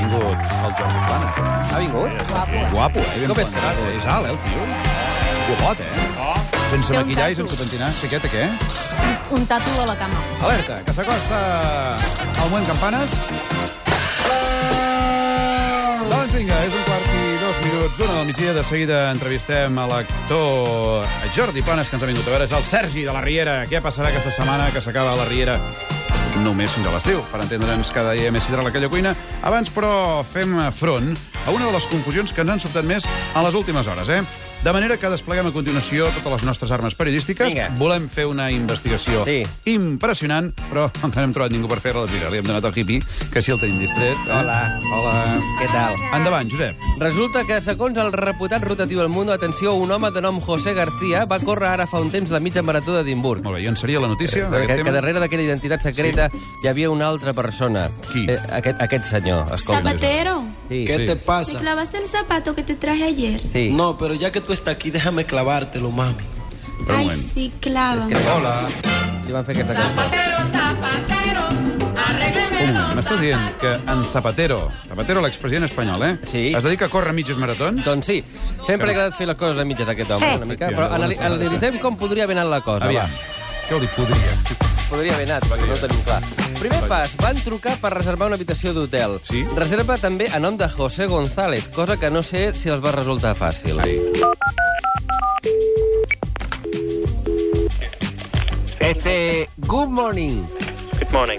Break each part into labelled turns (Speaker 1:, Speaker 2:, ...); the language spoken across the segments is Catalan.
Speaker 1: el Jordi Plana.
Speaker 2: Ha vingut?
Speaker 1: Guapo, eh? Ben
Speaker 2: Com és
Speaker 1: plantat. És alt, eh, el tio? És guapot, eh? Sense
Speaker 3: Té un
Speaker 1: maquillar i
Speaker 3: tatu.
Speaker 1: sense pentinar. Xiqueta, què?
Speaker 3: Un tatu a la cama.
Speaker 1: Alerta, que s'acosta el moment campanes. Doncs vinga, és un quart i dos minuts d'una del migdia. De seguida entrevistem a l'actor Jordi Planes, que ens ha vingut a veure. És el Sergi de la Riera. Què passarà aquesta setmana que s'acaba la Riera? Només fins a l'estiu, per entendre'ns cada dia més sidral aquella cuina. Abans, però, fem front a una de les confusions que ens han sobtat més a les últimes hores, eh? De manera que despleguem a continuació totes les nostres armes periodístiques.
Speaker 2: Vinga.
Speaker 1: Volem fer una investigació
Speaker 2: Sí.
Speaker 1: impressionant, però encara no hem trobat ningú per fer-la. Doncs Mira, li hem donat al hippie, que sí el tenim distret. Eh?
Speaker 2: Hola.
Speaker 1: Hola.
Speaker 2: Què tal?
Speaker 1: Endavant, Josep.
Speaker 2: Resulta que, segons el reputat rotatiu del Mundo, atenció, un home de nom José García va córrer ara fa un temps la mitja marató d'Edimburg.
Speaker 1: Molt bé, i on seria la notícia?
Speaker 2: Que,
Speaker 1: d'aquest
Speaker 2: que
Speaker 1: tema?
Speaker 2: darrere d'aquella identitat secreta hi havia una altra persona. Eh,
Speaker 1: Qui?
Speaker 2: aquest, aquest senyor, escolta.
Speaker 4: Zapatero,
Speaker 2: Sí.
Speaker 5: ¿Qué
Speaker 1: Sí.
Speaker 4: ¿te
Speaker 5: te pasa?
Speaker 4: clavaste el zapato que te traje ayer?
Speaker 2: sí.
Speaker 5: No, pero ya que tú estás aquí, déjame clavártelo, mami.
Speaker 1: Espera un
Speaker 4: Ay,
Speaker 1: moment.
Speaker 4: sí, clávame.
Speaker 1: Hola.
Speaker 2: Li van fer aquesta cançó.
Speaker 1: Un moment, M'estàs dient que en Zapatero, Zapatero, l'expresident espanyol, eh?
Speaker 2: Sí.
Speaker 1: Es dedica a córrer mitges maratons?
Speaker 2: Doncs sí, sempre ha agradat fer les coses a mitges d'aquest home, una mica, però anali- analitzem com podria haver anat la cosa. va.
Speaker 1: Aviam, què vol dir podria?
Speaker 2: Podria haver anat, perquè no ho tenim clar. Primer pas, van trucar per reservar una habitació d'hotel.
Speaker 1: Sí.
Speaker 2: Reserva també a nom de José González, cosa que no sé si els va resultar fàcil.
Speaker 1: Ai.
Speaker 2: Este, good morning.
Speaker 6: Good morning.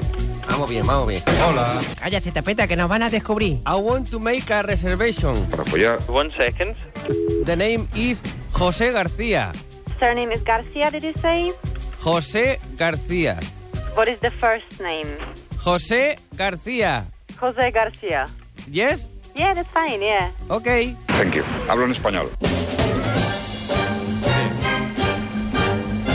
Speaker 2: Vamos bien, vamos bien.
Speaker 7: Cállate, tapeta, que nos van a descubrir.
Speaker 2: I want to make a reservation.
Speaker 6: One second.
Speaker 2: The name is José García.
Speaker 8: Surname is Garcia, did you say?
Speaker 2: José García.
Speaker 8: What is the first name?
Speaker 2: José García.
Speaker 8: Jose Garcia.
Speaker 2: Yes?
Speaker 8: Yeah, that's fine, yeah.
Speaker 2: Okay.
Speaker 9: Thank you. Hablo en español.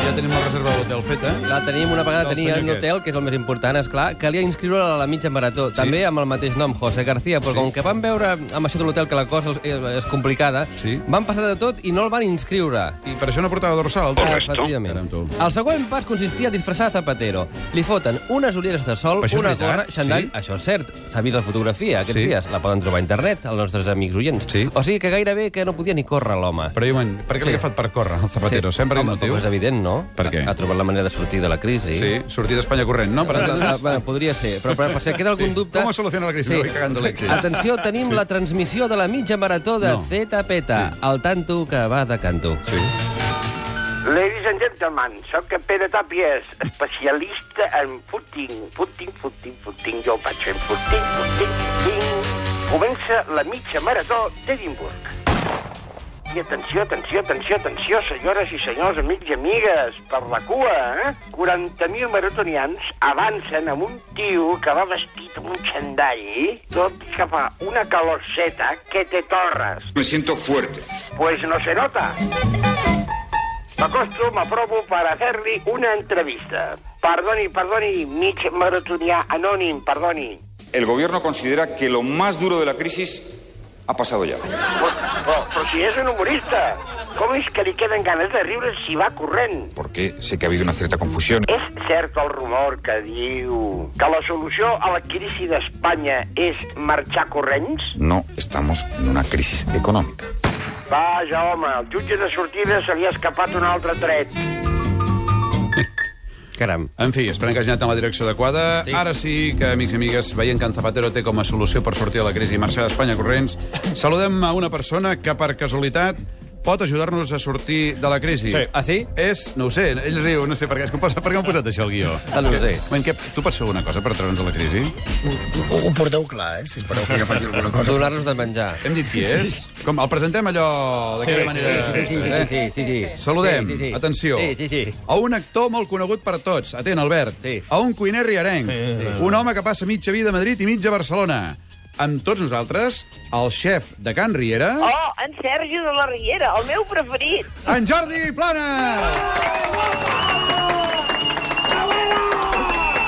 Speaker 1: Ja tenim la reserva de l'hotel eh? feta.
Speaker 2: La tenim una vegada,
Speaker 1: Del
Speaker 2: tenia un
Speaker 1: senyor aquest.
Speaker 2: hotel, que és el més important, és clar. Calia inscriure a la mitja marató,
Speaker 1: Sí.
Speaker 2: també amb el mateix nom, José García, però
Speaker 1: Sí.
Speaker 2: com que van veure amb això de l'hotel que la cosa és, és complicada,
Speaker 1: Sí.
Speaker 2: van passar de tot i no el van inscriure. Eh,
Speaker 1: I per això no portava dorsal, el tio. Ara
Speaker 2: Efectivament.
Speaker 1: amb tu.
Speaker 2: El següent pas consistia a disfressar Zapatero. Li foten unes ulleres de sol,
Speaker 1: Però això és
Speaker 2: una
Speaker 1: veritat?
Speaker 2: gorra, xandall...
Speaker 1: Sí.
Speaker 2: Això és cert, s'ha vist la fotografia aquests
Speaker 1: Sí.
Speaker 2: dies. La poden trobar a internet, els nostres amics oients.
Speaker 1: Sí.
Speaker 2: O sigui que gairebé que no podia ni córrer l'home.
Speaker 1: Però, Iwan, per què l'he
Speaker 2: Sí.
Speaker 1: agafat per córrer, el Zapatero? Sempre hi ha
Speaker 2: Home,
Speaker 1: un motiu.
Speaker 2: però És evident, no?
Speaker 1: Per què?
Speaker 2: Ha, ha trobat la manera de sortir de la crisi.
Speaker 1: Sí, sortir d'Espanya corrent, no? Per
Speaker 2: Ah,
Speaker 1: entendre's.
Speaker 2: bueno, podria ser, però, però per si queda algun
Speaker 1: Sí.
Speaker 2: dubte...
Speaker 1: Com es soluciona la crisi? Me voy cagando l'èxit.
Speaker 2: Atenció, tenim la transmissió de la mitja marató de
Speaker 1: No.
Speaker 2: Zeta Peta,
Speaker 1: Sí.
Speaker 2: E el tanto que va de canto.
Speaker 1: Sí.
Speaker 10: Ladies and gentlemen, sóc en Pere Tàpies, especialista en footing. Footing, footing, footing, jo vaig fent footing, footing, footing. Comença la mitja marató d'Edimburg. I atenció, atenció, atenció, atenció, senyores i senyors, amics i amigues, per la cua, eh? 40.000 maratonians avancen amb un tio que va vestit amb un xandall, tot i que fa una calorceta que te torres.
Speaker 9: Me siento fuerte.
Speaker 10: Pues no se nota. Me acosto, me aprovo para hacerle una entrevista. Perdoni, perdoni, mig maratonià anònim, perdoni.
Speaker 9: El gobierno considera que lo más duro de la crisis ha pasado ya.
Speaker 10: Però, però, però si és un humorista, com és que li queden ganes de riure si va corrent?
Speaker 9: Porque sé que ha habido una cierta confusión.
Speaker 10: És cert el rumor que diu que la solució a la crisi d'Espanya és marxar corrents?
Speaker 9: No estamos en una crisis económica.
Speaker 10: Vaja, home, al jutge de sortida se li ha escapat un altre tret.
Speaker 2: Caram.
Speaker 1: En fi, esperem que hagi anat en la direcció adequada. Sí.
Speaker 2: Sí.
Speaker 1: Ara sí que, amics i amigues, veient que en Zapatero té com a solució per sortir de la crisi i marxar d'Espanya corrents, saludem a una persona que, per casualitat, pot ajudar-nos a sortir de la crisi.
Speaker 2: Sí. Ah, sí?
Speaker 1: És, no ho sé, ell riu, no sé per què, és que em posa, per què m'han posat això al guió.
Speaker 2: Ah, no ho sé.
Speaker 1: En què, tu pots fer alguna cosa per treure'ns de la crisi?
Speaker 7: Ho, ho porteu clar, eh? Si espereu que faci alguna cosa.
Speaker 2: Donar-nos de menjar.
Speaker 1: Hem dit qui és? Com, el presentem allò d'aquella manera...
Speaker 2: Sí, sí, sí. sí, sí.
Speaker 1: Saludem,
Speaker 2: Sí, sí, sí.
Speaker 1: atenció,
Speaker 2: Sí, sí, sí.
Speaker 1: a un actor molt conegut per tots, atent, Albert,
Speaker 2: Sí.
Speaker 1: a un cuiner riarenc, un home que passa mitja vida a Madrid i mitja a Barcelona. Amb tots nosaltres, el xef de Can Riera,
Speaker 8: Oh, en Sergi de la Riera, el meu preferit.
Speaker 1: en Jordi Plana!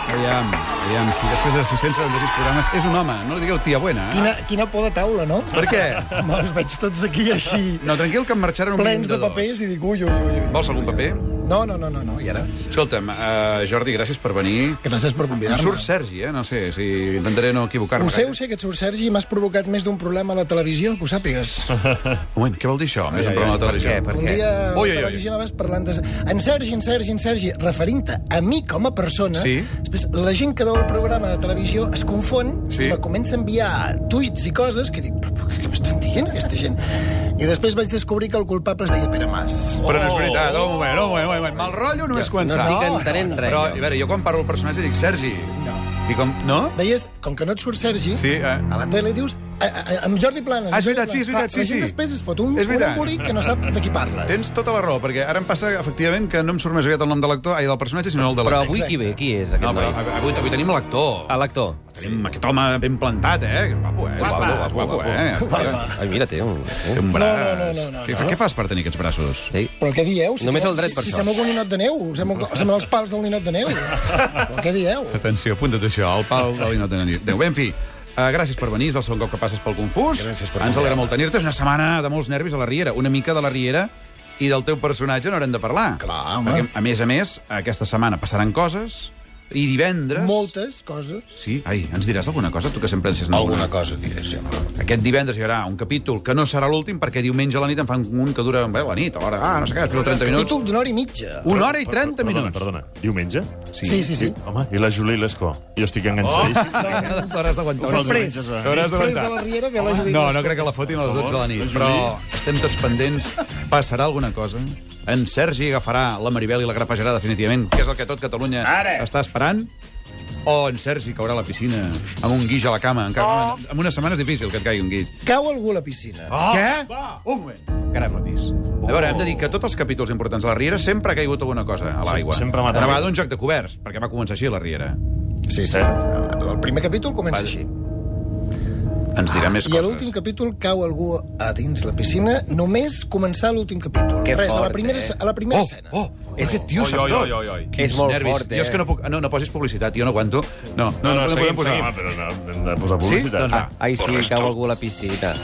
Speaker 1: Aviam, aviam, si després de 600 de programes és un home, no li digueu tia buena. eh?
Speaker 7: Quina, quina por de taula, no?
Speaker 1: Per què?
Speaker 7: Home, els veig tots aquí així,
Speaker 1: No, tranquil, que en marxaran un mínim
Speaker 7: plens de
Speaker 1: dos.
Speaker 7: papers, i dic, ui, ui, ui. ui.
Speaker 1: Vols algun paper?
Speaker 7: No, no, no, no, no i ara?
Speaker 1: Escolta'm, uh, Jordi, gràcies per venir.
Speaker 7: Gràcies per
Speaker 1: Em
Speaker 7: convidar-me.
Speaker 1: surt Sergi, eh? No sé, si intentaré no equivocar-me.
Speaker 7: Ho sé, ho sé, que et surt Sergi, i m'has provocat més d'un problema a la televisió, que ho sàpigues.
Speaker 1: Un moment, què vol dir això? Més un programa de televisió.
Speaker 2: Per què?
Speaker 7: Un dia a la
Speaker 1: Ui, ui, ui.
Speaker 7: televisió anaves parlant de... En Sergi, en Sergi, en Sergi, referint-te a mi com a persona.
Speaker 1: Sí.
Speaker 7: Després, la gent que veu el programa de televisió es confon
Speaker 1: Sí.
Speaker 7: i me comença a enviar tuits i coses que dic, però, però què m'estan dient aquesta gent? I després vaig descobrir que el culpable es deia Pere Mas.
Speaker 1: Però no
Speaker 2: Oh.
Speaker 1: és veritat, oh, un moment, un moment, un moment. Mal rotllo només començar.
Speaker 2: No estic entenent res.
Speaker 1: Però,
Speaker 2: jo.
Speaker 1: a veure, jo quan parlo del personatge dic Sergi. No. I com... No?
Speaker 7: Deies, com que no et surt Sergi,
Speaker 1: Sí, eh?
Speaker 7: a la tele dius "A- a- a- amb Jordi Planes.
Speaker 1: Ah, és
Speaker 7: amb Jordi
Speaker 1: veritat, sí, és veritat,
Speaker 7: Planes". Clar,
Speaker 1: sí,
Speaker 7: La gent
Speaker 1: sí.
Speaker 7: després es fot un,
Speaker 1: És
Speaker 7: un
Speaker 1: veritat.
Speaker 7: embolic que no sap de qui parles.
Speaker 1: Tens tota la raó, perquè ara em passa, efectivament, que no em surt més aviat el nom de l'actor, ai, del personatge, sinó el de
Speaker 2: Però
Speaker 1: l'actor.
Speaker 2: avui qui ve? Qui és aquest
Speaker 1: No, però
Speaker 2: noi?
Speaker 1: avui, avui tenim l'actor.
Speaker 2: Ah, l'actor.
Speaker 1: Tenim aquest home ben plantat, eh? Que Guapo, eh? Guapo, guapo, guapo, eh?
Speaker 7: Guapa.
Speaker 2: Ai, mira, té un...
Speaker 1: Té un braç.
Speaker 7: No, no, no, no, no.
Speaker 1: Què, fa- què fas per tenir aquests braços?
Speaker 2: Sí.
Speaker 7: Però què dieu? Si
Speaker 2: Només
Speaker 7: feu-
Speaker 2: el dret
Speaker 7: si,
Speaker 2: per
Speaker 7: si
Speaker 2: això.
Speaker 7: Si sembla un ninot de neu, sembla, sembla els pals d'un ninot de neu. Però què dieu?
Speaker 1: Atenció, apunta't això, el pal de l'inot de Déu. Bé, en fi, uh, gràcies per venir, és el segon cop que passes pel Confús.
Speaker 7: Gràcies per
Speaker 1: Ens
Speaker 7: convidar-me.
Speaker 1: alegra molt tenir-te, és una setmana de molts nervis a la Riera, una mica de la Riera i del teu personatge n'haurem de parlar.
Speaker 7: Clar, home.
Speaker 1: Perquè, a més a més, aquesta setmana passaran coses, i divendres...
Speaker 7: Moltes coses.
Speaker 1: Sí? Ai, ens diràs alguna cosa, tu que sempre en saps
Speaker 7: cosa diré, sí.
Speaker 1: Aquest divendres hi haurà un capítol que no serà l'últim perquè diumenge a la nit en fan un que dura bé, la nit, a l'hora, ah, no sé què, després de 30 minuts.
Speaker 7: Títol d'una hora i mitja.
Speaker 1: Una hora i 30 minuts.
Speaker 11: Perdona, perdona. Diumenge?
Speaker 7: Sí, sí, sí.
Speaker 11: Home, i la Juli Lescó? Jo estic enganxadíssim.
Speaker 1: T'hauràs d'aguantar.
Speaker 11: Però
Speaker 7: Després.
Speaker 11: diumenges, eh?
Speaker 1: T'hauràs
Speaker 7: Després
Speaker 1: d'aguantar.
Speaker 7: de la Riera ve la Judit.
Speaker 1: No, no crec que la fotin a les 12 de la nit, però estem tots pendents. Passarà alguna cosa? En Sergi agafarà la Maribel i la grapejarà definitivament, que és el que tot Catalunya
Speaker 11: Ara.
Speaker 1: està esperant? O en Sergi caurà a la piscina amb un guix a la cama? Encara, oh. En una setmana és difícil que et caigui un guix.
Speaker 7: Cau algú a la piscina.
Speaker 1: Oh. Què? Va. Un moment. Caram. Fotis. A veure, hem de dir que tots els capítols importants de la Riera sempre ha caigut alguna cosa a l'aigua.
Speaker 11: Sem- sempre mata.
Speaker 1: Una vegada un joc de coberts, perquè va començar així la Riera.
Speaker 7: Sí, sí. El el primer capítol comença
Speaker 1: Vale.
Speaker 7: així.
Speaker 1: Ens dirà més
Speaker 7: Ah, I a
Speaker 1: coses.
Speaker 7: l'últim capítol cau algú a dins la piscina només començar l'últim capítol.
Speaker 2: Que
Speaker 7: Res, a la
Speaker 2: fort,
Speaker 7: primera,
Speaker 2: eh?
Speaker 7: a la primera escena.
Speaker 1: Oh, oh, aquest tio
Speaker 11: Oi,
Speaker 1: sap
Speaker 11: oi,
Speaker 1: tot.
Speaker 11: oi, oi, oi.
Speaker 1: Quins
Speaker 2: És molt
Speaker 1: nervis.
Speaker 2: fort, eh?
Speaker 1: Jo és que no puc... No, no posis publicitat, jo no aguanto. No,
Speaker 11: No, no,
Speaker 1: podem
Speaker 11: seguim,
Speaker 1: posar.
Speaker 11: seguim. Ah, però no, hem de posar
Speaker 1: Sí?
Speaker 11: publicitat.
Speaker 1: Doncs va.
Speaker 2: Ai, Ah, sí, cau algú a la piscina.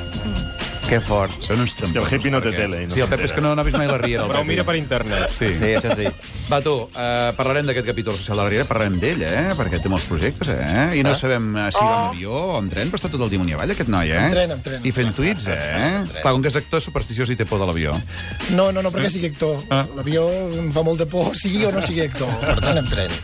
Speaker 2: Que fort.
Speaker 1: Són uns
Speaker 11: que el
Speaker 1: tramposos.
Speaker 11: hippie no té
Speaker 1: perquè-
Speaker 11: tele i no
Speaker 1: sí, el Pep
Speaker 11: s'entera.
Speaker 1: és que no, no ha vist mai la Riera. Però mira per internet. Sí.
Speaker 2: Sí, això sí.
Speaker 1: Va, tu, eh, parlarem d'aquest capítol especial de la Riera, parlarem d'ell, eh? Perquè té molts projectes, eh? I no sabem eh, si va amb avió o amb tren, però està tot el dimunt i avall, aquest noi, eh?
Speaker 7: Oh. Amb tren, amb tren. Ah,
Speaker 1: I fent tuits, eh? Clar, com que és actor, és supersticiós i té por de l'avió.
Speaker 2: Eh? Ah.
Speaker 7: No, no, no, perquè sigui actor. L'avió em fa molta por, sigui o no sigui actor. Per tant, em tren.